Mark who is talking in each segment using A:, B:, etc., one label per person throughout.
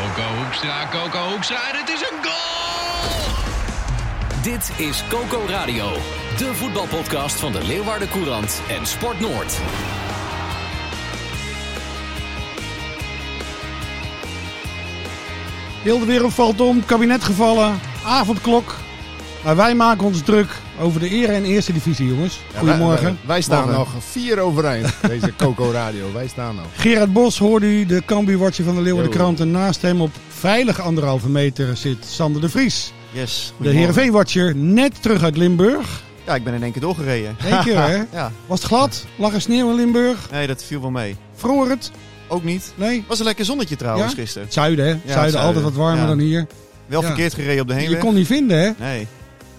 A: Coco Hoekstra, Coco Hoekstra en het is een goal!
B: Dit is Coco Radio, de voetbalpodcast van de Leeuwarden Courant en Sport Noord.
C: Heel de wereld valt om, kabinet gevallen, avondklok. Maar wij maken ons druk over de Ere en Eerste Divisie, jongens.
D: Ja,
C: Goedemorgen.
D: Wij, wij staan
C: Morgen.
D: nog vier overeind, deze Coco Radio. Wij staan nog.
C: Gerard Bos hoorde u, de Cambuur-watcher van de Leeuwarden
D: Yo.
C: Krant. En naast hem op veilig anderhalve meter zit Sander de Vries.
E: Yes.
C: De
E: goedemorgen.
C: Heerenveen-watcher, net terug uit Limburg.
E: Ja, ik ben in één keer doorgereden.
C: Eén keer, hè?
E: Ja,
C: Was het glad? Lag er sneeuw in Limburg?
E: nee, dat viel wel mee.
C: Vroor het?
E: Ook niet.
C: Nee?
E: Was een lekker zonnetje trouwens
C: Ja?
E: gisteren.
C: Het zuiden, hè? Het
E: het
C: zuiden, altijd
E: zuiden.
C: wat warmer
E: Ja.
C: dan hier.
E: Wel
C: Ja.
E: verkeerd gereden op de
C: Je
E: heenweg.
C: kon niet vinden, hè?
E: Nee.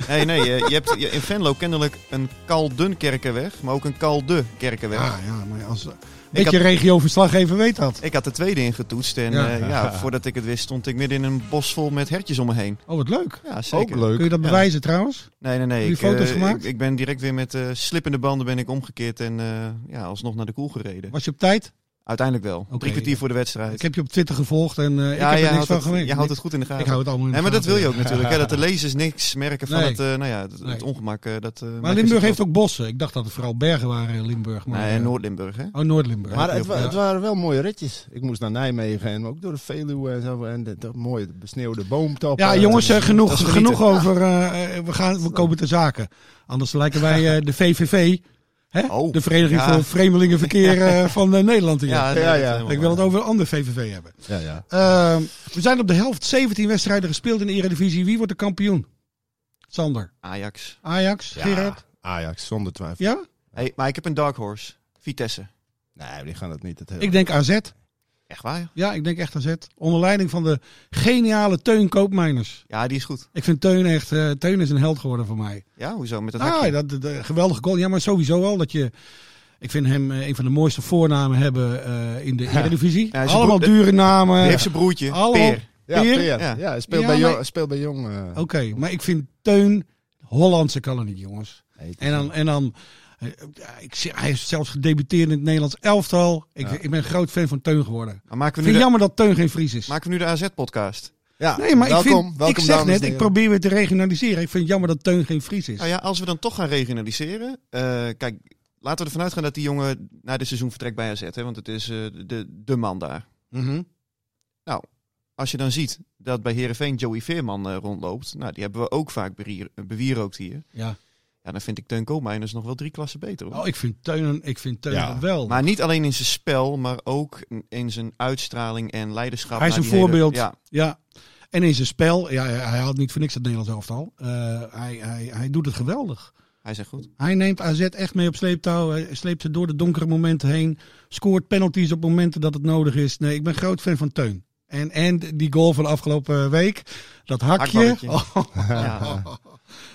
E: Nee, nee. Je, je hebt je- in Venlo kennelijk een Kaldun-kerkenweg, maar ook een Kalde-kerkenweg.
C: Ah, ja, maar als...
E: Ik
C: Weet
E: had-
C: je, regioverslaggever weet dat.
E: Ik had de tweede ingetoetst en
C: Ja.
E: ja. ja, voordat ik het wist stond ik midden in een bos vol met hertjes om me heen.
C: Oh, wat leuk.
E: Ja, zeker.
D: Ook
C: Kun je
D: leuk.
C: dat
E: Ja.
C: bewijzen, trouwens?
E: Nee, nee, nee.
C: Heb je
E: Ik,
C: foto's
E: eh,
C: gemaakt?
E: Ik, ik ben direct weer met eh, slippende banden ben ik omgekeerd en eh, ja, alsnog naar de koel gereden.
C: Was je op tijd?
E: Uiteindelijk wel.
C: Oké.
E: Drie kwartier voor de wedstrijd.
C: Ik heb je op Twitter gevolgd en eh, ik
E: Ja,
C: heb er
E: jij
C: niks
E: houdt
C: van
E: het-
C: gemerkt.
E: jij houdt het goed in de
C: ik,
E: gaten.
C: ik hou het allemaal in de
E: Nee, maar dat
C: gaten,
E: wil je
C: ja.
E: ook natuurlijk. Hè? Dat de lezers niks merken van
C: Nee.
E: het, eh, nou ja, het, het
C: Nee.
E: ongemak. eh, dat, eh,
C: Maar
E: merken
C: Limburg
E: ze
C: heeft
E: toch.
C: ook bossen. Ik dacht dat het vooral bergen waren in Limburg. Maar,
E: Nee,
C: eh,
E: Noord-Limburg, hè?
C: Oh, Noord-Limburg.
D: Maar het, wa-
C: Ja.
D: het waren wel mooie ritjes. Ik moest naar Nijmegen en ook door de Veluwe en zo. En de, de mooie besneeuwde boomtoppen.
C: ja, jongens, eh,
D: En-
E: dus dat is
C: genoeg,
E: genieten.
C: genoeg over. eh, eh, we, gaan, we komen te zaken. Anders lijken wij eh, de VVV, hè?
E: Oh,
C: de Vereniging
E: ja.
C: voor Vreemdelingenverkeer eh, van eh, Nederland. Hier.
E: Ja,
D: ja,
E: dat
D: ja.
E: helemaal
C: ik wil
E: waar.
C: het over een ander VVV hebben.
D: Ja, ja.
C: Ehm, we zijn op de helft 17 wedstrijden gespeeld in de Eredivisie. Wie wordt de kampioen? Sander.
E: Ajax.
C: Ajax? Gerard?
D: Ja, Ajax, zonder twijfel.
C: Ja?
E: Hey, maar ik heb een dark horse. Vitesse.
D: Nee, die gaan het niet. Het hele-
C: Ik denk AZ.
E: Echt waar?
C: Ja, ik denk echt AZ. Onder leiding van de geniale Teun Koopmeiners.
E: Ja, die is goed.
C: Ik vind Teun echt... eh, Teun is een held geworden voor mij.
E: Ja, hoezo? Met dat
C: Ah,
E: hakje.
C: dat, dat, dat- geweldige goal. Ja, maar sowieso al dat je... Ik vind hem eh, een van de mooiste voornamen hebben eh, in de Eredivisie.
E: Ja, hij is een
C: Allemaal
E: broer-
C: dure namen.
E: Die heeft zijn broertje,
C: Allemaal-
E: Peer.
D: ja,
C: Peer?
D: Peer.
E: Ja.
D: Ja, hij speelt,
C: Ja,
D: bij
C: maar- Oh,
D: jong, speelt bij jong. eh,
C: Oké, maar ik vind Teun... Hollandse kan het niet, jongens.
D: nee, het is
C: En dan... En dan eh, ja, ik, zie- hij is zelfs gedebuteerd in het Nederlands elftal. Ik,
D: Ja.
C: ik ben een groot fan van Teun geworden.
E: Maar maken
C: Ik
E: we
C: vind
E: nu
C: het
E: de,
C: jammer dat Teun geen Fries is.
E: maken we nu de AZ-podcast?
D: Ja,
C: Nee, maar
D: welkom,
C: ik, vind,
D: welkom,
C: ik zeg
D: dames en
C: net, ik
D: heren. Ah,
C: probeer weer te regionaliseren. Ik vind het jammer dat Teun geen Fries is.
E: Nou ja, als we dan toch gaan regionaliseren. eh, kijk, laten we ervan uitgaan dat die jongen na dit seizoen vertrekt bij AZ. Hè, want het is eh, de, de man daar.
C: Mhm.
E: als je dan ziet dat bij Herenveen Joey Veerman eh, rondloopt, nou, die hebben we ook vaak berier- eh, bewierookt hier.
C: Ja.
E: Ja, dan vind ik Teun Koolmeiners nog wel drie klassen beter. Hoor.
C: Oh, ik vind Teun, ik vind Teun
D: Ja.
C: dat wel.
E: Maar niet alleen in zijn spel, maar ook in zijn uitstraling en leiderschap.
C: Hij is
E: naar
C: een
E: die hele-
C: voorbeeld.
E: ja,
C: Ja. En in zijn spel, ja, hij- hij had niet voor niks het Nederlands elftal. Eh, hij, hij, hij doet het geweldig.
E: hij zegt goed.
C: Hij neemt AZ echt mee op sleeptouw. Hij sleept ze door de donkere momenten heen. Scoort penalties op momenten dat het nodig is. Nee, ik ben groot fan van Teun. En, en die goal van de afgelopen week, dat hakje.
E: Hakballetje.
C: Oh,
E: Ja,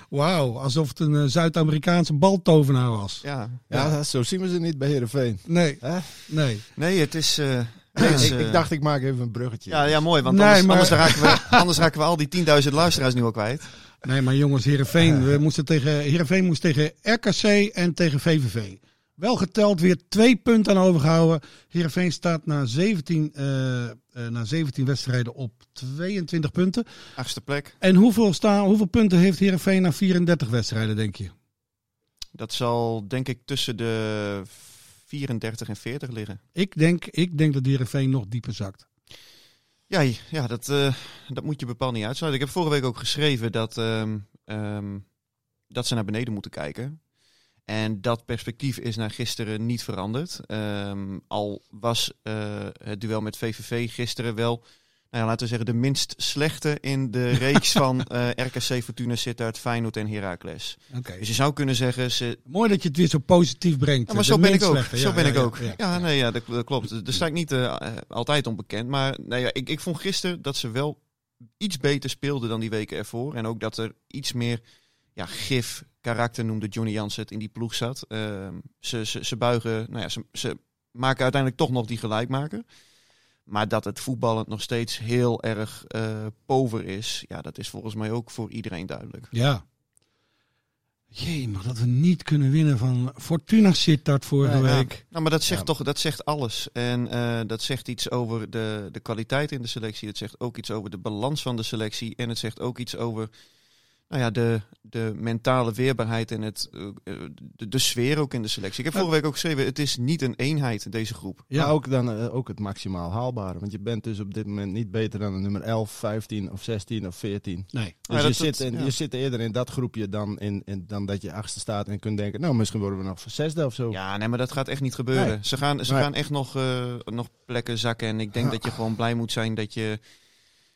C: Wauw, alsof het een eh, Zuid-Amerikaanse baltovenaar was.
E: ja.
D: Ja, zo zien we ze niet bij Heerenveen.
C: Nee,
D: Hè?
C: nee.
E: Nee, het is. eh, het
D: Ik,
E: is,
D: ik
E: eh,
D: dacht, ik maak even een bruggetje.
E: Ja, ja, mooi, want
C: Nee,
E: anders,
C: maar-
E: anders, raken we, anders raken we al die 10.000 luisteraars nu al kwijt.
C: Nee, maar jongens, Heerenveen, we moesten tegen, Heerenveen moest tegen RKC en tegen VVV. Wel geteld, weer twee punten aan overgehouden. Heerenveen staat na 17, eh, eh, na 17 wedstrijden op 22 punten.
E: Achtste plek.
C: En hoeveel, staan, hoeveel punten heeft Heerenveen na 34 wedstrijden, denk je?
E: Dat zal denk ik tussen de 34 en 40 liggen.
C: Ik denk, ik denk dat Heerenveen nog dieper zakt.
E: Ja, j- ja dat, eh, dat moet je bepaald niet uitsluiten. Ik heb vorige week ook geschreven dat, ehm, ehm, dat ze naar beneden moeten kijken. En dat perspectief is na gisteren niet veranderd. Ehm, al was eh, het duel met VVV gisteren wel nou ja, laten we zeggen, de minst slechte in de reeks van eh, RKC, Fortuna, Sittard, Feyenoord en Heracles.
C: Oké.
E: Dus je zou kunnen zeggen, ze,
C: Mooi dat je het weer zo positief brengt.
E: ja, maar
C: eh, De
E: zo ben ik
C: minst
E: ook.
C: slechte.
E: zo
C: Ja,
E: ben
C: ja,
E: ik
C: ja,
E: ook. Ja,
C: ja, ja.
E: nee, ja dat, dat klopt. Daar sta ik niet eh, eh, altijd onbekend. Maar nou ja, ik, ik vond gisteren dat ze wel iets beter speelden dan die weken ervoor. En ook dat er iets meer ja, gif, karakter noemde Johnny Jansen het, in die ploeg zat. Ehm, ze, ze, ze buigen, nou ja, ze, ze maken uiteindelijk toch nog die gelijkmaker. Maar dat het voetballend nog steeds heel erg eh, pover is, ja, dat is volgens mij ook voor iedereen duidelijk.
C: Ja. Jee, maar dat we niet kunnen winnen van Fortuna Sittard vorige
D: Ja, ja.
C: week.
E: Nou, maar dat zegt
D: Ja.
E: toch dat zegt alles. En eh, dat zegt iets over de, de kwaliteit in de selectie. Het zegt ook iets over de balans van de selectie. En het zegt ook iets over nou ja, de, de mentale weerbaarheid en het, eh, eh, de, de sfeer ook in de selectie. Ik heb vorige week ook geschreven, het is niet een eenheid, deze groep.
C: Ja.
D: Ja, ook, dan, eh, ook het maximaal haalbare. Want je bent dus op dit moment niet beter dan de nummer 11, 15 of 16 of 14.
C: Nee.
D: Dus
E: Ja,
D: je,
E: dat-
D: zit
E: dat-
D: in,
E: ja.
D: je zit eerder in dat groepje dan, in, in- dan dat je achtste staat en kunt denken, nou misschien worden we nog voor zesde of zo.
E: Ja, nee, maar dat gaat echt niet gebeuren.
D: Nee.
E: Ze, gaan, ze
D: Nee.
E: gaan echt nog, eh, nog plekken zakken. En ik denk dat je gewoon blij moet zijn dat je,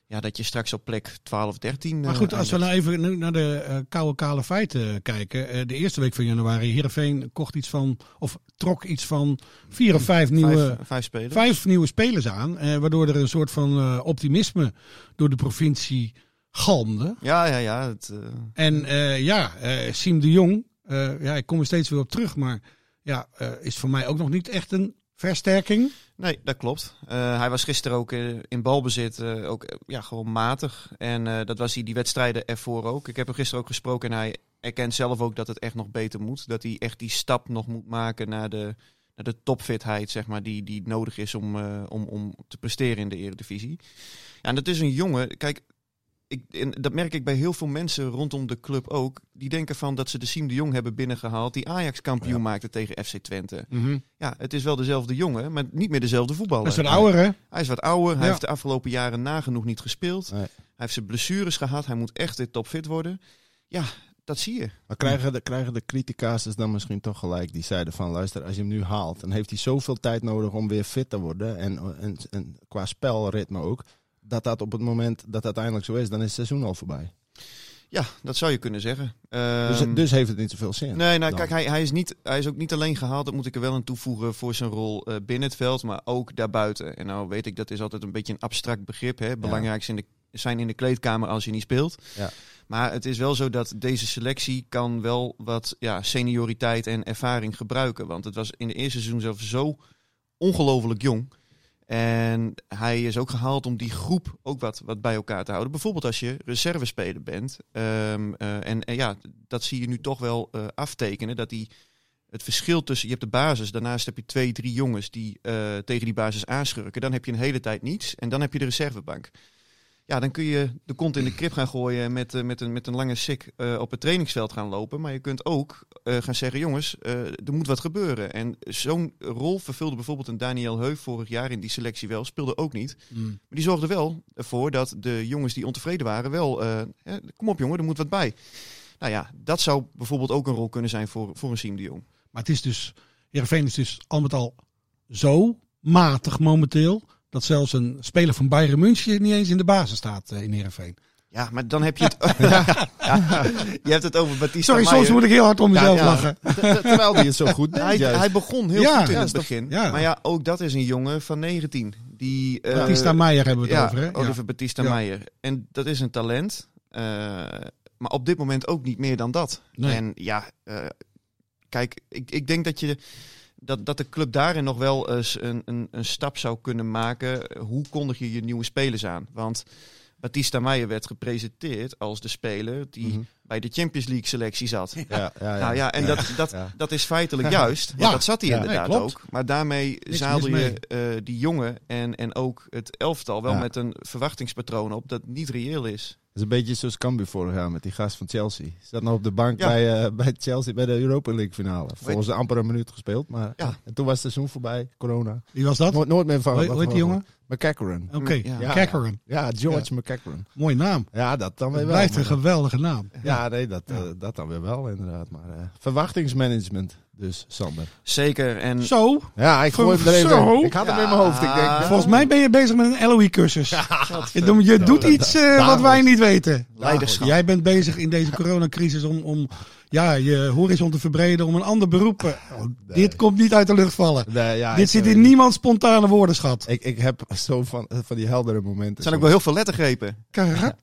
E: ja, dat je straks op plek 12 of 13
C: Maar
E: eh,
C: goed, als we
E: eindigt.
C: nou even nu naar de eh, koude kale feiten kijken. Eh, de eerste week van januari, Heerenveen kocht iets van, of trok iets van vier of vijf nieuwe...
E: vijf, vijf spelers.
C: Vijf nieuwe spelers aan, eh, waardoor er een soort van eh, optimisme door de provincie galmde.
E: Ja, ja, ja. Het, eh,
C: En eh, ja, eh Siem de Jong, eh, ja, ik kom er steeds weer op terug, maar ja, eh, is voor mij ook nog niet echt een versterking.
E: Nee, dat klopt. Eh, hij was gisteren ook eh, in balbezit eh, ook, eh, ja, gewoon matig. En eh, dat was hij die wedstrijden ervoor ook. Ik heb hem gisteren ook gesproken en hij erkent zelf ook dat het echt nog beter moet. Dat hij echt die stap nog moet maken naar de, naar de topfitheid, zeg maar, die, die nodig is om, eh, om, om te presteren in de eredivisie. Ja, en dat is een jongen, kijk, ik, en dat merk ik bij heel veel mensen rondom de club ook. Die denken van dat ze de Siem de Jong hebben binnengehaald, die Ajax kampioen
D: Ja.
E: maakte tegen FC Twente. Ja, het is wel dezelfde jongen, maar niet meer dezelfde voetballer.
C: Dat is wat ouder, hè?
E: Hij is wat ouder. Hij
C: Ja.
E: heeft de afgelopen jaren nagenoeg niet gespeeld.
D: Nee.
E: Hij heeft zijn blessures gehad. Hij moet echt weer topfit worden. Ja, dat zie je.
D: Maar krijgen de, krijgen de criticasters dan misschien toch gelijk? Die zeiden van, luister, als je hem nu haalt, dan heeft hij zoveel tijd nodig om weer fit te worden. En, en, en qua spelritme ook. Dat dat op het moment dat dat eindelijk zo is, dan is het seizoen al voorbij.
E: Ja, dat zou je kunnen zeggen. Ehm,
D: dus, dus heeft het niet zoveel zin.
E: Nee, nou
D: dan.
E: kijk, hij, hij, is niet, hij is ook niet alleen gehaald. Dat moet ik er wel aan toevoegen voor zijn rol eh, binnen het veld, maar ook daarbuiten. En nou weet ik, dat is altijd een beetje een abstract begrip. Hè? Belangrijk in de, zijn in de kleedkamer als je niet speelt.
D: Ja.
E: Maar het is wel zo dat deze selectie kan wel wat ja, senioriteit en ervaring gebruiken. Want het was in de eerste seizoen zelf zo ongelooflijk jong. En hij is ook gehaald om die groep ook wat, wat bij elkaar te houden. Bijvoorbeeld als je reservespeler bent. Ehm, eh, en, en ja, dat zie je nu toch wel eh, aftekenen. Dat die, het verschil tussen, je hebt de basis, daarnaast heb je twee, drie jongens die eh, tegen die basis aanschurken. Dan heb je een hele tijd niets en dan heb je de reservebank. Ja, dan kun je de kont in de krip gaan gooien en met, eh, met, een, met een lange sik eh, op het trainingsveld gaan lopen. Maar je kunt ook eh, gaan zeggen, jongens, eh, er moet wat gebeuren. En zo'n rol vervulde bijvoorbeeld een Daniel Heu vorig jaar in die selectie wel, speelde ook niet.
C: Hmm.
E: Maar die zorgde wel ervoor dat de jongens die ontevreden waren wel... eh, hè, kom op jongen, er moet wat bij. Nou ja, dat zou bijvoorbeeld ook een rol kunnen zijn voor, voor een Siem de Jong.
C: Maar het is dus, Heerenveen is dus al met al zo matig momenteel, dat zelfs een speler van Bayern München niet eens in de basis staat eh, in Heerenveen.
E: Ja, maar dan heb je het... Ja, je hebt het over Batista
C: Sorry, soms moet ik heel hard om mezelf lachen.
D: Terwijl hij het zo goed deed.
E: Hij,
D: juist.
E: hij begon heel
C: Ja,
E: goed in
C: ja,
E: het
C: is toch-
E: begin.
C: ja.
E: Maar ja, ook dat is een jongen van 19. Die, eh,
C: Batista Meijer hebben we het
E: ja,
C: over, hè? Ja.
E: Oliver Batista
C: Ja.
E: Meijer. En dat is een talent. eh, maar op dit moment ook niet meer dan dat.
C: Nee.
E: En ja, eh, kijk, ik, ik denk dat je... Dat, dat de club daarin nog wel eens een, een, een stap zou kunnen maken. Hoe kondig je je nieuwe spelers aan? Want Batista Meijer werd gepresenteerd als de speler die
D: Mhm.
E: bij de Champions League selectie zat.
D: Ja,
C: Ah,
D: ja, ja.
E: Nou ja, en dat, dat,
D: ja.
E: dat is feitelijk juist. Want
C: Ja,
E: dat zat hij
D: ja.
E: inderdaad
C: Nee, klopt.
E: ook. Maar daarmee
C: mis
E: zadel
C: mee.
E: je eh, die jongen en, en ook het elftal wel
D: Ja.
E: met een verwachtingspatroon op dat niet reëel is.
D: Dat is een beetje zoals Cambuur vorig jaar met die gast van Chelsea. Zat nou op de bank
E: Ja.
D: bij, eh, bij Chelsea bij de Europa League finale. Volgens de amper een minuut gespeeld, maar
E: Ja.
D: en toen was het seizoen voorbij, corona.
C: Wie was dat?
D: Nooit, nooit meer van.
C: Hoe-
D: wat
C: hoe heet die
D: van-
C: jongen?
D: McCackeren.
C: Oké,
E: Ja.
C: ja. Kekeren.
D: Ja, George McCackeren.
C: Mooie naam.
D: Ja, dat dan
C: Het
D: weer wel.
C: blijft een
D: maar-
C: geweldige naam.
D: Ja, nee, dat, eh, dat dan weer wel inderdaad. Maar eh, verwachtingsmanagement. Dus Sander.
E: Zeker. En
C: Zo,
D: Ja, ik gooi hem er even
C: Zo.
D: in. Ik had hem in mijn hoofd. Ik denk,
E: Ja.
C: volgens mij ben je bezig met een LOE-cursus. Je, doet- je doet iets eh, wat
D: Daarom.
C: wij niet weten.
E: leiderschap.
C: Jij bent bezig in deze coronacrisis om, om ja, je horizon te verbreden, om een ander beroep. eh, oh, Dit komt niet uit de lucht vallen.
D: Nee, ja,
C: Dit
D: ik,
C: zit
D: eh,
C: in niemands spontane woordenschat.
D: Ik, ik heb zo van, eh, van die heldere momenten.
E: Er zijn ook wel heel veel lettergrepen.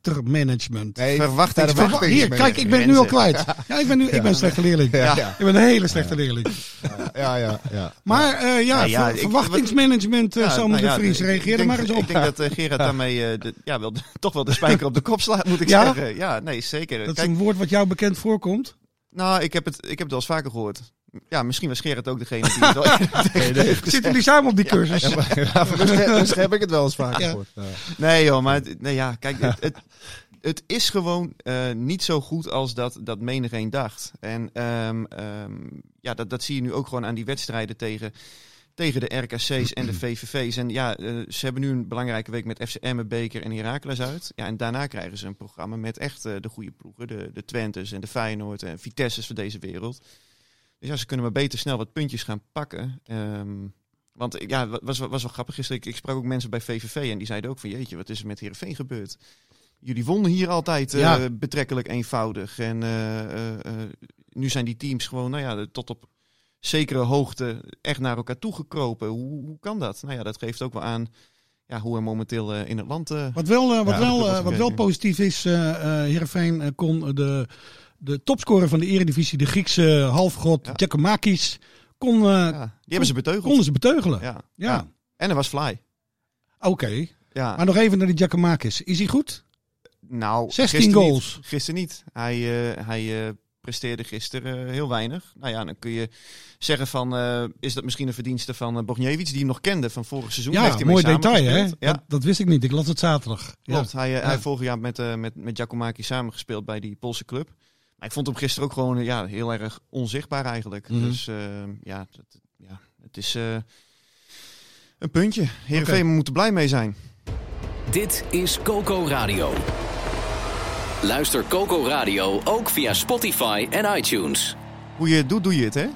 C: Karaktermanagement.
D: Nee,
E: Verwachtings-
D: verwachtings-
C: Verwa- Hier, kijk, ik ben het nu al
E: Mensen.
C: kwijt. Ja, ik ben, nu, ik ben een slechte leerling.
D: Ja,
C: Ik ben een hele slechte leerling.
D: ja, ja, ja.
C: Maar eh, ja,
E: Nou ja,
C: ver-
E: ik-
C: verwachtingsmanagement, eh, Sander
E: nou ja,
C: de Vries,
E: ik-
C: reageer
E: ik
C: er
E: denk-
C: maar eens op.
E: Ik denk dat eh, Gerard daarmee eh, de- ja, wel, de- toch wel de spijker op de kop slaat, moet ik
C: Ja?
E: zeggen. Ja, nee, zeker.
C: Dat is
E: Kijk,
C: een woord wat jou bekend voorkomt.
E: nou, ik heb, het, ik heb het wel eens vaker gehoord. Ja, misschien was Gerard ook degene die het wel-
C: Zitten jullie samen op die cursus?
D: Ja, maar- ja, voor de scherp- voor de scherp heb ik het wel eens vaak
C: Ja.
D: gehoord. Ja.
E: Nee joh, maar het- nee, ja, kijk, het, het, het is gewoon eh, niet zo goed als dat, dat menigeen dacht. En ehm, ehm, ja, dat, dat zie je nu ook gewoon aan die wedstrijden tegen, tegen de RKC's en de VVV's. En ja, eh, ze hebben nu een belangrijke week met FC Emmen, Beker en Heracles uit. Ja, en daarna krijgen ze een programma met echt eh, de goede ploegen. De, de Twentes en de Feyenoord en Vitesse's van deze wereld. Dus ja, ze kunnen maar beter snel wat puntjes gaan pakken. Ehm, want eh, ja, het was, wel- was wel grappig gisteren. Ik, ik sprak ook mensen bij VVV en die zeiden ook van... Jeetje, wat is er met Heerenveen gebeurd? Jullie wonnen hier altijd eh,
C: Ja.
E: betrekkelijk eenvoudig. En eh, eh, eh, nu zijn die teams gewoon, nou ja, de- tot op zekere hoogte echt naar elkaar toegekropen. Hoe, hoe kan dat? Nou ja, dat geeft ook wel aan ja, hoe er momenteel eh, in het land... eh,
C: Wat wel, eh, wat
E: Ja,
C: wel,
E: dat was
C: eh,
E: een
C: wat wel
E: beetje.
C: positief is, eh eh, Heerenveen eh, kon de, de topscorer van de eredivisie, de Griekse halfgod
E: Ja.
C: Giacomakis, kon, eh,
E: ja, die hebben ze beteugeld.
C: konden ze beteugelen. Ja.
E: Ja. En er was Fly.
C: Oké,
E: Ja.
C: maar nog even naar die Giacomakis. Is hij goed?
E: Nou,
C: 16
E: gisteren
C: goals.
E: Niet, gisteren niet. Hij, eh, hij eh, presteerde gisteren eh, heel weinig. Nou ja, dan kun je zeggen van... eh, is dat misschien een verdienste van eh Bogniewicz... die hem nog kende van vorig seizoen? Daar
C: Ja,
E: heeft hij mee
C: mooi detail hè?
E: samengespeeld. Ja,
C: Dat, dat wist ik niet, ik las het zaterdag. Ja.
E: klopt. Hij, eh,
C: Ja.
E: hij heeft vorig jaar met, eh met, met Giacomaki samengespeeld bij die Poolse club. Maar ik vond hem gisteren ook gewoon eh, ja, heel erg onzichtbaar eigenlijk.
D: Mhm.
E: Dus eh, ja, dat, ja, het is... eh, een puntje. Heerenveen moet er blij mee zijn.
B: Dit is Coco Radio. Luister Coco Radio ook via Spotify en iTunes.
E: Hoe je het doet, doe je het, hè?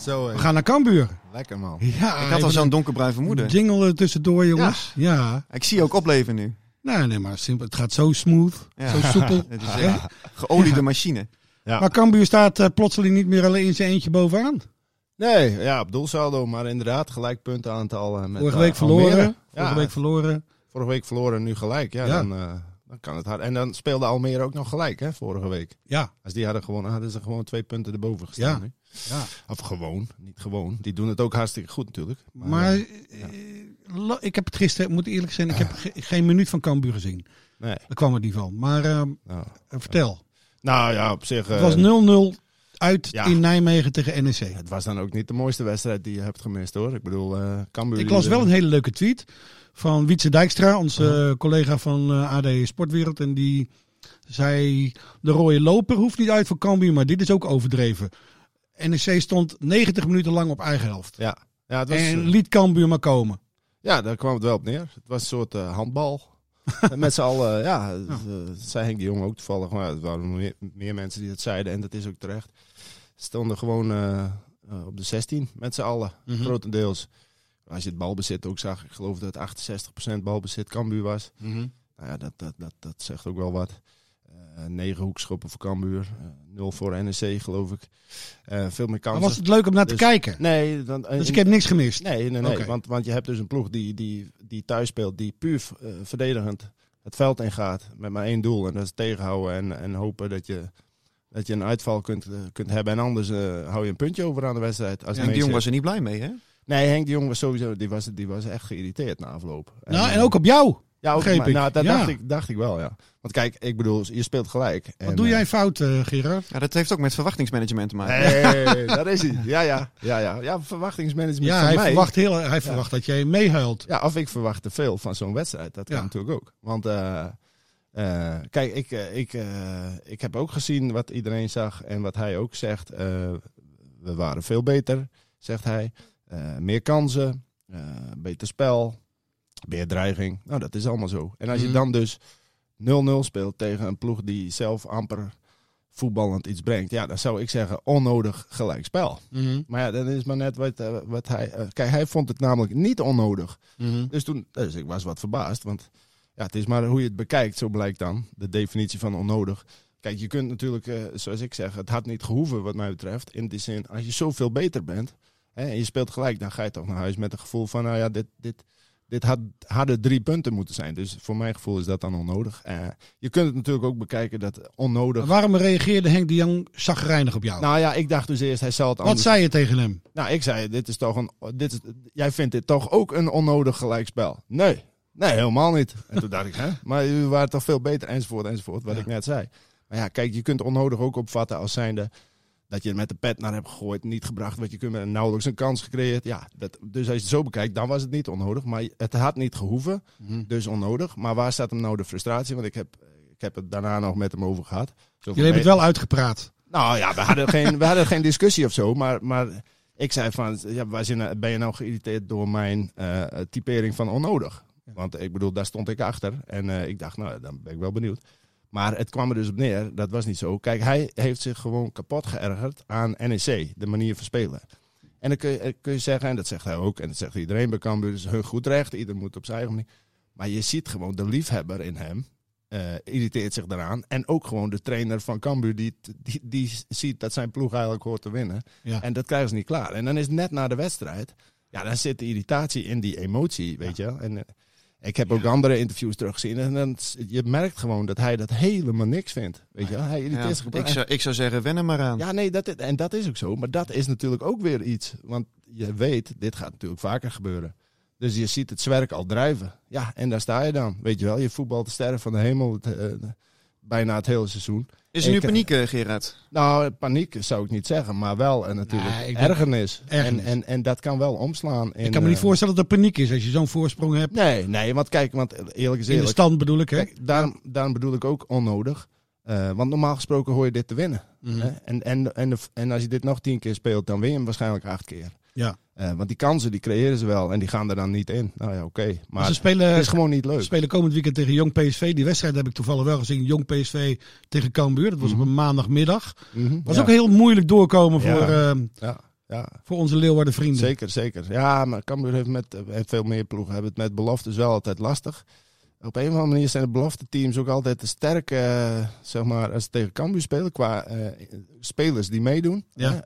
D: Zo, eh,
C: We gaan naar Cambuur.
D: lekker man.
C: Ja,
E: Ik had al zo'n donkerbruin vermoeden.
C: jingle er tussendoor jongens. Ja.
E: Ik zie je ook opleven nu.
C: Nou nee, maar simpel. het gaat zo smooth,
E: Ja.
C: zo soepel.
E: Het is echt geoliede machine.
D: Ja.
C: Maar Cambuur staat eh, plotseling niet meer alleen in zijn eentje bovenaan.
D: Nee, ja, op doelsaldo, maar inderdaad gelijk puntenaantal. eh, met,
C: Vorige
D: eh,
C: week
D: Almere.
C: verloren.
D: Ja,
C: Vorige week verloren.
D: vorige week verloren, nu gelijk. Ja,
C: Ja.
D: Dan, eh, dan kan het hard. En dan speelde Almere ook nog gelijk, hè, vorige week.
C: Ja,
D: Als die hadden gewonnen, hadden ze gewoon twee punten erboven gestaan.
C: Ja.
D: nu.
C: ja.
D: Of gewoon, niet gewoon. Die doen het ook hartstikke goed natuurlijk.
C: Maar eh, la- ik heb het gisteren, ik moet eerlijk zijn, ik heb ge- geen minuut van Cambuur gezien.
D: Nee.
C: Daar kwam het niet van. Maar eh,
D: Nou,
C: vertel.
D: nou ja, op zich... eh,
C: Het was 0-0 uit
D: ja.
C: in Nijmegen tegen E NEC.
D: het was dan ook niet de mooiste wedstrijd die je hebt gemist, hoor. Ik bedoel, eh Cambuur...
C: Ik
D: die
C: las
D: er-
C: wel een hele leuke tweet van Wietse Dijkstra, onze
D: Uh-huh.
C: eh, collega van eh, AD Sportwereld. En die zei, de rode loper hoeft niet uit voor Cambuur, maar dit is ook overdreven. NEC stond 90 minuten lang op eigen helft.
D: Ja, eh, ja, het was,
C: En liet Cambuur maar komen.
D: ja, daar kwam het wel op neer. Het was een soort eh, handbal. En Met z'n allen, ja, het, eh, zei Henk de Jong ook toevallig. Maar het waren meer, meer mensen die dat zeiden en dat is ook terecht. Stonden gewoon eh, eh, op de 16 met z'n allen,
C: Mhm.
D: grotendeels. Als je het balbezit ook zag, ik geloof dat 68% balbezit Cambuur was. Nou ja, dat, dat, dat, dat zegt ook wel wat. Eh negen hoekschoppen voor Cambuur, eh, nul voor NEC geloof ik. Eh, veel meer
C: Maar
D: kansen.
C: was het leuk om naar te
D: Dus-
C: kijken.
D: Nee, dan,
C: Dus ik heb niks gemist.
D: Nee, nee, nee.
C: Oké.
D: Want, want je hebt dus een ploeg die, die, die thuis speelt, die puur eh, verdedigend het veld ingaat. Met maar één doel. En dat is tegenhouden en, en hopen dat je, dat je een uitval kunt, eh, kunt hebben. En anders eh, hou je een puntje over aan de wedstrijd. Als het
E: En die
D: mee
E: jongen was
D: zit.
E: er niet blij mee, hè?
D: Nee, Henk de Jong was sowieso die was, die was echt geïrriteerd na afloop. eh,
C: Nou, en ook op jou.
D: ja, ook,
C: begreep
D: maar-
C: ik.
D: Nou, dat
C: Ja.
D: dacht, ik, dacht ik wel, ja. Want kijk, ik bedoel, je speelt gelijk.
C: Wat
D: En,
C: doe
D: eh,
C: jij fout, eh, Gerard?
E: Ja, dat heeft ook met verwachtingsmanagement te maken.
D: Hey, daar is hij. Ja, ja. Ja, ja. ja verwachtingsmanagement
C: Ja,
D: van
C: hij,
D: mij.
C: verwacht, heel, hij verwacht dat jij meehuilt.
D: Ja, of ik verwacht te veel van zo'n wedstrijd. Dat kan
C: Ja.
D: natuurlijk ook. Want eh, eh, kijk, ik, eh, ik, eh, ik heb ook gezien wat iedereen zag en wat hij ook zegt. Eh, we waren veel beter, zegt hij. Eh, meer kansen, eh, beter spel, meer dreiging. Nou, dat is allemaal zo. En als je
C: Mhm.
D: dan dus 0-0 speelt tegen een ploeg die zelf amper voetballend iets brengt. Ja, dan zou ik zeggen onnodig gelijkspel. Maar ja, dat is maar net wat, eh, wat hij... eh, kijk, hij vond het namelijk niet onnodig. Dus toen, dus ik was wat verbaasd, want ja, het is maar hoe je het bekijkt, zo blijkt dan, de definitie van onnodig. Kijk, je kunt natuurlijk, eh, zoals ik zeg, het had niet gehoeven wat mij betreft. In die zin, als je zoveel beter bent hè, en je speelt gelijk, dan ga je toch naar huis met het gevoel van, nou ja, dit, dit, dit had, hadden drie punten moeten zijn. Dus voor mijn gevoel is dat dan onnodig. Eh, je kunt het natuurlijk ook bekijken dat onnodig...
C: Maar Waarom reageerde Henk de Jong zagrijnig op jou?
D: Nou ja, ik dacht dus eerst, hij zal het
C: Wat
D: anders...
C: zei je tegen hem?
D: Nou, ik zei, dit is toch een. Dit is, jij vindt dit toch ook een onnodig gelijkspel? Nee, nee, helemaal niet. En toen dacht ik, hè? Maar u waren toch veel beter, enzovoort, enzovoort, wat
C: Ja.
D: ik net zei. Maar ja, kijk, je kunt onnodig ook opvatten als zijnde dat je er met de pet naar hebt gegooid, niet gebracht, wat je kunt met nauwelijks een kans gecreëerd. Ja, dat, dus als je het zo bekijkt, dan was het niet onnodig, maar het had niet gehoeven, dus onnodig. Maar waar staat hem nou de frustratie? Want ik heb, ik heb het daarna nog met hem over gehad. Zoveel
C: Jullie hebben het
D: me-
C: wel uitgepraat.
D: nou ja, we hadden geen, we hadden geen discussie of zo. Maar, maar ik zei van, ja, waar zin- ben je nou geïrriteerd door mijn eh, typering van onnodig? Want ik bedoel, daar stond ik achter. En eh, ik dacht, nou, dan ben ik wel benieuwd. Maar het kwam er dus op neer, dat was niet zo. Kijk, hij heeft zich gewoon kapot geërgerd aan NEC, de manier van spelen. En dan kun je, eh, kun je zeggen, en dat zegt hij ook, en dat zegt iedereen bij Cambuur, dat is hun goed recht, ieder moet op zijn eigen manier. Maar je ziet gewoon de liefhebber in hem, eh, irriteert zich daaraan. En ook gewoon de trainer van Cambuur, die, die, die ziet dat zijn ploeg eigenlijk hoort te winnen.
C: Ja.
D: En dat krijgen ze niet klaar. En dan is het net na de wedstrijd, ja, dan zit de irritatie in die emotie, weet je wel. En, eh, ik heb ook andere interviews teruggezien. En dan, s- je merkt gewoon dat hij dat helemaal niks vindt. Weet je wel? Hij irriteert zich
E: Oh ik,
D: kapot.
E: zou, ik zou zeggen, wen er maar aan.
D: Ja, nee, dat, i- en dat is ook zo. Maar dat is natuurlijk ook weer iets. Want je weet, dit gaat natuurlijk vaker gebeuren. Dus je ziet het zwerk al drijven. Ja, en daar sta je dan. Weet je wel, je voetbalt de sterren van de hemel het, eh, bijna het hele seizoen.
E: Is er nu
D: Ik, eh,
E: paniek, eh, Gerard?
D: Nou, paniek zou ik niet zeggen, maar wel en natuurlijk
C: Nee, ik denk-
D: ergernis. En,
C: Ergernis.
D: en, en dat kan wel omslaan. In,
C: ik kan me niet
D: eh,
C: voorstellen dat er paniek is als je zo'n voorsprong hebt.
D: Nee, nee, want kijk, want eerlijk is
C: in de
D: eerlijk.
C: stand bedoel ik, hè?
D: Kijk, daarom, daarom bedoel ik ook onnodig. Eh, want normaal gesproken hoor je dit te winnen.
C: Mhm.
D: Hè? En, en, en, de- en als je dit nog tien keer speelt, dan win je hem waarschijnlijk acht keer.
C: Ja.
D: Eh, want die kansen die creëren ze wel en die gaan er dan niet in. Nou ja, oké. Maar
C: Maar ze
D: het
C: spelen,
D: is gewoon niet
C: ze
D: leuk.
C: spelen komend weekend tegen Jong PSV. Die wedstrijd heb ik toevallig wel gezien. Jong PSV tegen Cambuur. Dat was op een maandagmiddag.
D: Mhm.
C: Was
D: ja.
C: ook heel moeilijk doorkomen
D: Ja.
C: voor, ehm,
D: Ja, ja.
C: voor onze Leeuwarden vrienden.
D: Zeker, zeker. Ja, maar Cambuur heeft met eh, en veel meer ploegen hebben het met beloftes wel altijd lastig. Op een of andere manier zijn de belofte teams ook altijd te sterk, eh, zeg maar, als ze tegen Cambuur spelen, qua eh, spelers die meedoen.
C: Ja.
D: Hè?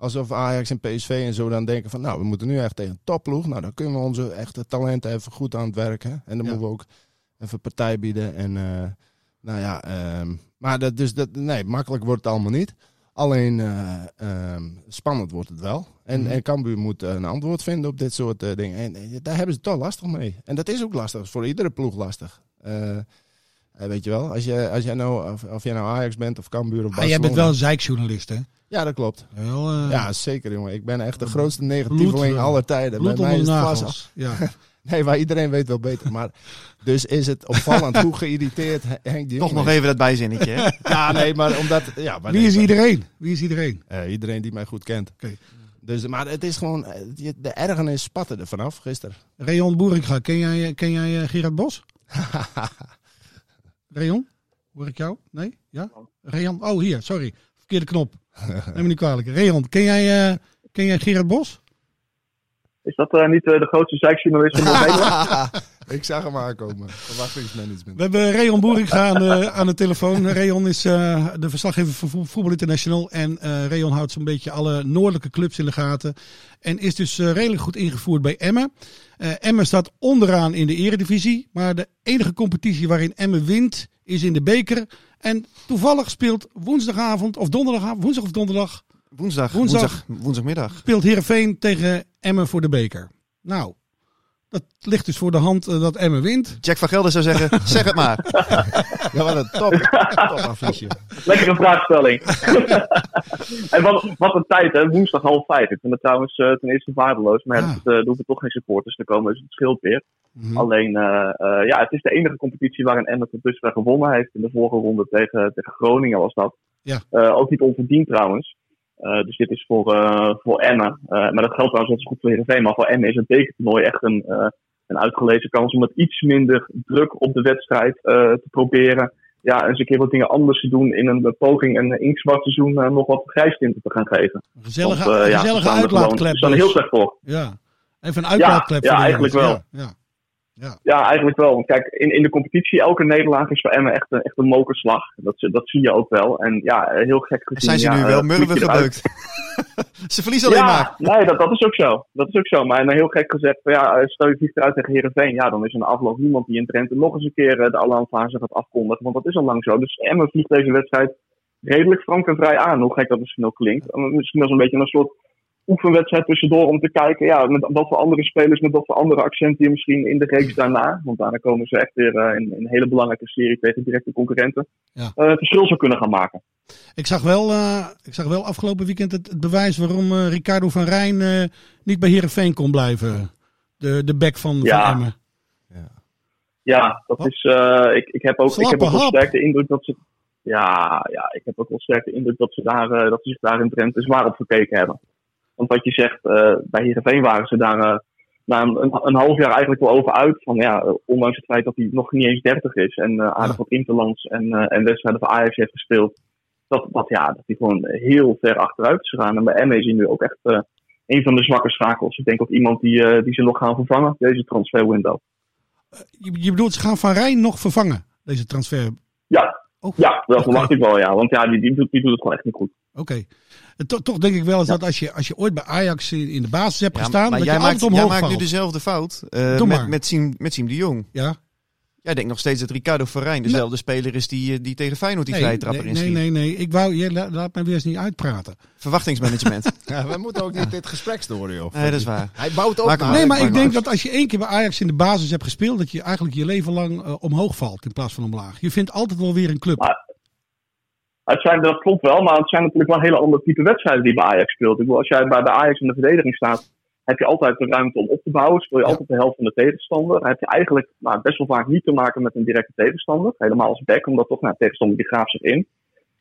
D: Alsof Ajax en PSV en zo dan denken van, nou, we moeten nu echt tegen een topploeg. Nou, dan kunnen we onze echte talenten even goed aan het werken. En dan moeten we ook even partij bieden. En, eh, nou ja, ehm, maar dat, dus dat, nee, makkelijk wordt het allemaal niet. Alleen eh, ehm, spannend wordt het wel. En,
C: Mhm.
D: en Cambuur moet eh, een antwoord vinden op dit soort eh, dingen. En, eh, daar hebben ze toch lastig mee. En dat is ook lastig. is voor iedere ploeg lastig. Eh, eh, weet je wel, als, je, als jij nou, of, of jij nou Ajax bent of Cambuur of
C: Ah, jij
D: Barcelona.
C: bent wel een zeikjournalist, hè?
D: Ja, dat klopt.
C: Wel, eh,
D: Ja, zeker jongen. Ik ben echt de grootste
C: bloed,
D: negatieveling
C: eh,
D: aller tijden.
C: bloed
D: Bij mij
C: onder
D: is
C: de
D: het vast
C: nagels. Ja.
D: Nee, maar iedereen weet wel beter. Maar dus is het opvallend hoe geïrriteerd Henk de Jong
E: Toch nog
D: is.
E: even dat bijzinnetje, hè?
D: Ja, nee, maar omdat... Ja, maar
C: Wie
D: nee,
C: is
D: maar-
C: iedereen? Wie is iedereen?
D: Eh, iedereen die mij goed kent.
C: Oké.
D: Dus, maar het is gewoon... eh, je- De ergernis spatte er vanaf gisteren.
C: Rayon Boeringa, ken jij, ken jij eh, Gerard Bos? Rayon, hoor ik jou? Nee? Ja? Rayon, oh hier, sorry. Verkeerde knop. Neem me niet kwalijk. Rayon, ken jij, eh, ken jij Gerard Bos?
F: Is dat eh, niet eh, de grootste zeikjournalist van Nederland?
D: ik zag hem aankomen. Verwachtingsmanagement.
C: We hebben Rayon Boeringa aan de, aan de telefoon. Rayon is eh, de verslaggever van Vo- Voetbal International. En eh Rayon houdt zo'n beetje alle noordelijke clubs in de gaten. En is dus eh, redelijk goed ingevoerd bij Emmen. Eh, Emmen staat onderaan in de eredivisie. Maar de enige competitie waarin Emmen wint is in de beker. En toevallig speelt woensdagavond of donderdagavond, woensdag of donderdag,
E: Woensdag,
C: Woensdag.
E: woensdag. Woensdagmiddag.
C: speelt Heerenveen tegen Emmen voor de beker. Nou, dat ligt dus voor de hand eh, dat Emmen wint.
E: Jack van Gelder zou zeggen, zeg het maar.
D: Ja, wat een top, top affiche.
F: Lekkere vraagstelling. en wat, wat een tijd, hè? Woensdag half vijf. Ik vind dat trouwens eh, ten eerste waardeloos. Maar ja,
C: Ah.
F: dat, eh, er hoeven toch geen supporters te komen, dus het scheelt weer.
C: Hm.
F: Alleen, eh, eh, ja, het is de enige competitie waarin Emmen tot dusver gewonnen heeft. In de vorige ronde tegen, tegen Groningen was dat.
C: Ja.
F: Eh, ook niet onverdiend trouwens. Eh, dus dit is voor, eh, voor Emmen. Eh, maar dat geldt trouwens net zo goed voor Heerenveen. Maar voor Emmen is het bekertoernooi echt een, eh, een uitgelezen kans om met iets minder druk op de wedstrijd eh, te proberen. ja, eens een keer wat dingen anders te doen in een poging een inktzwart seizoen eh, nog wat grijstinten te gaan geven.
C: Een gezellige,
F: Want, eh, ja, ze
C: gezellige
F: staan er gewoon-
C: uitlaatklep.
F: Ze staan er
C: dus.
F: heel slecht voor.
C: Ja. Even een uitlaatklep.
F: Ja,
C: voor de
F: ja, eigenlijk
C: jongens. Ja, ja.
F: Ja, eigenlijk wel. Want kijk, in, in de competitie, elke nederlaag is voor Emmen echt een, echt een mokerslag. Dat, zi- dat zie je ook wel. En ja, eh, heel gek
E: Zijn
F: gezien.
E: ze
F: ja,
E: nu
F: eh,
E: wel
F: vlieg je
E: murven
F: eruit.
E: gebeukt? ze verliezen alleen
F: ja,
E: maar.
F: Nee, dat, dat is ook zo. Dat is ook zo. Maar en dan heel gek gezegd, van, ja, eh, stel je vliegt eruit tegen Herenveen. Ja, dan is er na afloop niemand die in Drenthe nog eens een keer eh, de alarmfase gaat afkondigen. Want dat is al lang zo. Dus Emmen vliegt deze wedstrijd redelijk frank en vrij aan. Hoe gek dat misschien ook klinkt. Eh, Misschien wel een beetje een soort oefenwedstrijd tussendoor om te kijken ja, met wat voor andere spelers, met wat voor andere accenten misschien in de reeks daarna. Want daarna komen ze echt weer eh, in in een hele belangrijke serie tegen directe concurrenten.
C: Ja.
F: eh, verschil zou kunnen gaan maken.
C: Ik, zag wel, eh, ik zag wel afgelopen weekend het, het bewijs waarom eh, Ricardo van Rijn eh, niet bij Herenveen kon blijven. De, de back van,
F: Ja.
C: van Emmen.
F: Ja, dat
C: Wat?
F: is. eh, ik, ik heb ook, ik heb
C: Slappe
F: ook wel
C: hap.
F: sterk de indruk dat ze. Ja, ja, ik heb ook wel sterk de indruk dat ze, daar, eh, dat ze zich daar in Drenthe zwaar op gekeken hebben. Want wat je zegt, eh, bij Heerenveen waren ze daar eh, na een, een, een half jaar eigenlijk wel over uit. Van, ja, eh, ondanks het feit dat hij nog niet eens 30 is en eh, aardig wat interlands en, eh, en wedstrijden voor Ajax heeft gespeeld. Dat, dat, ja, dat hij gewoon heel ver achteruit is gegaan. En bij Emmen is hij nu ook echt eh, een van de zwakke schakels. Ik denk ook iemand die, eh, die ze nog gaan vervangen, deze transferwindow.
C: Je, je bedoelt, ze gaan Van Rijn nog vervangen, deze transfer.
F: Ja,
C: Oh,
F: ja dat
C: oké.
F: verwacht ik wel, ja. Want ja, die, die, doet, die doet het gewoon echt niet goed.
C: Oké. En to- toch denk ik wel eens dat als je, als je ooit bij Ajax in in de basis hebt
E: Ja,
C: gestaan,
E: maar
C: dat
E: jij
C: je
E: maakt,
C: altijd
E: jij
C: omhoog
E: maakt nu dus
C: valt.
E: dezelfde fout eh,
C: Doe
E: met,
C: maar.
E: met, Siem, met Siem de Jong.
C: Ja.
E: Jij denkt nog steeds dat Ricardo Verijn dezelfde speler is die, eh, die tegen Feyenoord die vrije trapper
C: nee,
E: in
C: nee, nee, nee. Ik wou, je la- laat mij weer eens niet uitpraten.
E: Verwachtingsmanagement.
D: Ja, we moeten ook niet dit gesprek door, joh.
E: nee, dat is waar.
D: Hij bouwt ook
E: Maak hem
D: naar.
E: maar.
C: Ah, nee,
E: ik
C: maar
E: maak
C: ik denk
E: maar.
C: dat als je één keer bij Ajax in de basis hebt gespeeld, dat je eigenlijk je leven lang eh, omhoog valt in plaats van omlaag. Je vindt altijd wel weer een club.
F: Maar- Het zijn, dat klopt wel, maar het zijn natuurlijk wel hele andere type wedstrijden die bij Ajax speelt. Ik bedoel, als jij bij de Ajax in de verdediging staat, heb je altijd de ruimte om op te bouwen. Speel je altijd de helft van de tegenstander. Dan heb je eigenlijk nou, best wel vaak niet te maken met een directe tegenstander. Helemaal als back, omdat toch, nou, tegenstander die graaft zich in.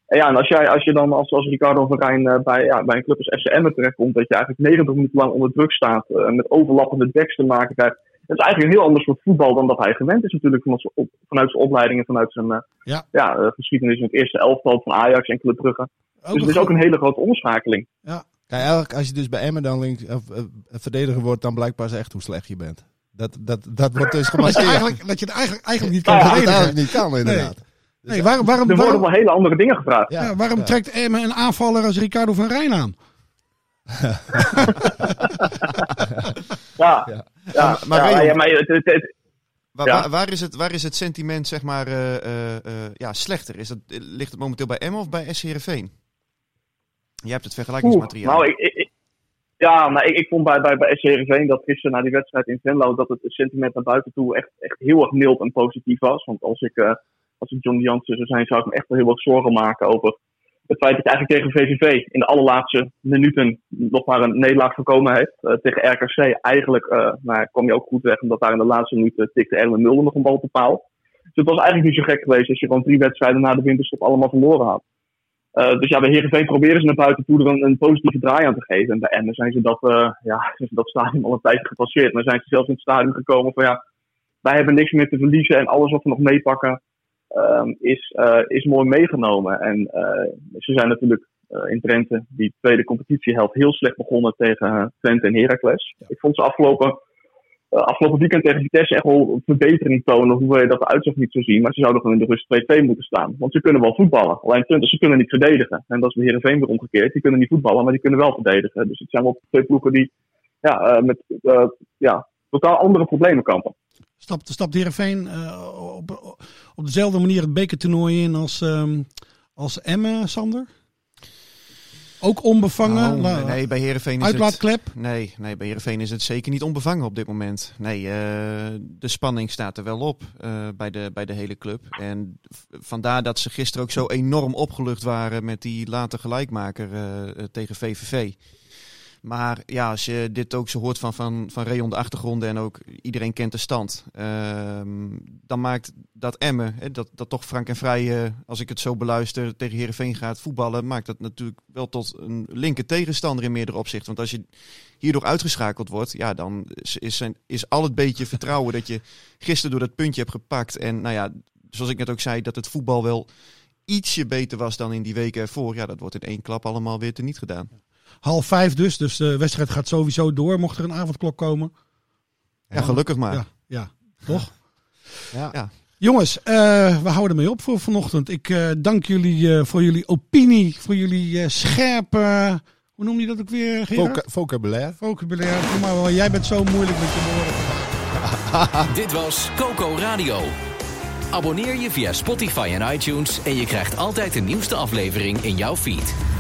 F: En ja, en als, jij, als je dan als, als Ricardo van Rijn eh, bij, ja, bij een club als FCM terechtkomt, dat je eigenlijk 90 minuten lang onder druk staat, eh, met overlappende backs te maken krijgt. Dat is eigenlijk een heel ander soort voetbal dan dat hij gewend is natuurlijk vanuit zijn, op- vanuit zijn opleiding en vanuit zijn eh,
C: Ja.
F: ja. eh, geschiedenis in het eerste elftal van Ajax en Club Brugge. dus het is ook een Oh, hele grote omschakeling.
D: Kijk, eigenlijk als je dus bij Emmen dan links, of, eh, verdediger wordt, dan blijkt pas echt hoe slecht je bent. Dat, dat, dat wordt dus
C: dat je,
D: gemaskeerd.
C: eigenlijk, dat je het eigenlijk, eigenlijk niet kan
D: dat je het
C: verdedigen.
D: eigenlijk niet kan, inderdaad.
C: Nee, waarom, waarom,
F: Er worden
C: waarom,
F: wel hele andere dingen gevraagd.
C: ja, waarom trekt Emmen een aanvaller als Ricardo van Rijn aan?
F: Ja,
D: Ja.
F: ja.
E: maar
F: ja,
E: Rayon-
F: ja, maar het- het- het-
E: Waar,
F: Ja.
E: waar, waar is het, waar is het sentiment zeg maar, eh, eh, eh, ja, slechter? Is dat, ligt het momenteel bij Emmen of bij SC Heerenveen? Jij hebt het vergelijkingsmateriaal.
F: Oeh, nou, ik, ik- ik- ja, maar ik, ik vond bij, bij, bij SCRV dat gisteren na die wedstrijd in Venlo dat het sentiment naar buiten toe echt, echt heel erg mild en positief was. Want als ik, eh, als ik John Jansen zou zijn, zou ik me echt wel heel wat zorgen maken over het feit dat hij eigenlijk tegen VVV in de allerlaatste minuten nog maar een nederlaag voorkomen heeft. Eh, tegen RKC eigenlijk eh nou, kwam je ook goed weg, omdat daar in de laatste minuut eh, tikte Erwin Mulder nog een bal op de paal. Dus het was eigenlijk niet zo gek geweest als je gewoon drie wedstrijden na de winterstop allemaal verloren had. Eh, dus ja, bij Heerenveen proberen ze naar buiten toe er een, een positieve draai aan te geven. En bij Emmen zijn ze dat, eh, ja, zijn ze dat stadium al een tijdje gepasseerd. Maar zijn ze zelfs in het stadium gekomen van ja, wij hebben niks meer te verliezen en alles wat we nog meepakken ehm, is, eh, is mooi meegenomen. En eh, ze zijn natuurlijk eh, in Drenthe die tweede competitiehelft heel slecht begonnen tegen eh, Twente en Heracles. Ik vond ze afgelopen, eh, afgelopen weekend tegen Vitesse echt wel verbetering tonen, hoewel je dat de uitzag niet zo zien. Maar ze zouden gewoon in de rust 2-2 moeten staan. Want ze kunnen wel voetballen. Alleen Twente, ze kunnen niet verdedigen. En dat is bij Heerenveen weer omgekeerd. Die kunnen niet voetballen, maar die kunnen wel verdedigen. Dus het zijn wel twee ploegen die ja, eh, met eh, ja, totaal andere problemen kampen.
C: Stapt, stapt Heerenveen eh, op, op dezelfde manier het bekertoernooi in als, ehm, als Emmen, Sander? Ook onbevangen?
E: Nou,
C: La-
E: nee, bij Heerenveen is het...
C: Uitlaatklep?
E: Nee, nee, bij Heerenveen is het zeker niet onbevangen op dit moment. Nee, eh, de spanning staat er wel op eh, bij, de, bij de hele club. En v- vandaar dat ze gisteren ook zo enorm opgelucht waren met die late gelijkmaker eh, eh, tegen VVV. Maar ja, als je dit ook zo hoort van, van, van Rayon de achtergronden en ook iedereen kent de stand. ehm, dan maakt dat Emmen, hè, dat, dat toch Frank en Vrij, eh, als ik het zo beluister, tegen Heerenveen gaat voetballen. Maakt dat natuurlijk wel tot een linker tegenstander in meerdere opzichten. Want als je hierdoor uitgeschakeld wordt, ja, dan is, is, zijn, is al het beetje vertrouwen dat je gisteren door dat puntje hebt gepakt. En nou ja, zoals ik net ook zei, dat het voetbal wel ietsje beter was dan in die weken ervoor. Ja, dat wordt in één klap allemaal weer teniet gedaan.
C: Half vijf dus, dus de wedstrijd gaat sowieso door. Mocht er een avondklok komen.
E: Ja, gelukkig maar.
C: Ja, ja toch?
D: Ja.
E: Ja.
C: Jongens, eh, we houden ermee op voor vanochtend. Ik eh, dank jullie eh, voor jullie opinie, voor jullie eh, scherpe... Hoe noem je dat ook weer, Gerard?
D: Voca- vocabulaire.
C: Vocabulaire. Doe maar wel. Jij bent zo moeilijk met je woorden.
B: Dit was Coco Radio. Abonneer je via Spotify en iTunes en je krijgt altijd de nieuwste aflevering in jouw feed.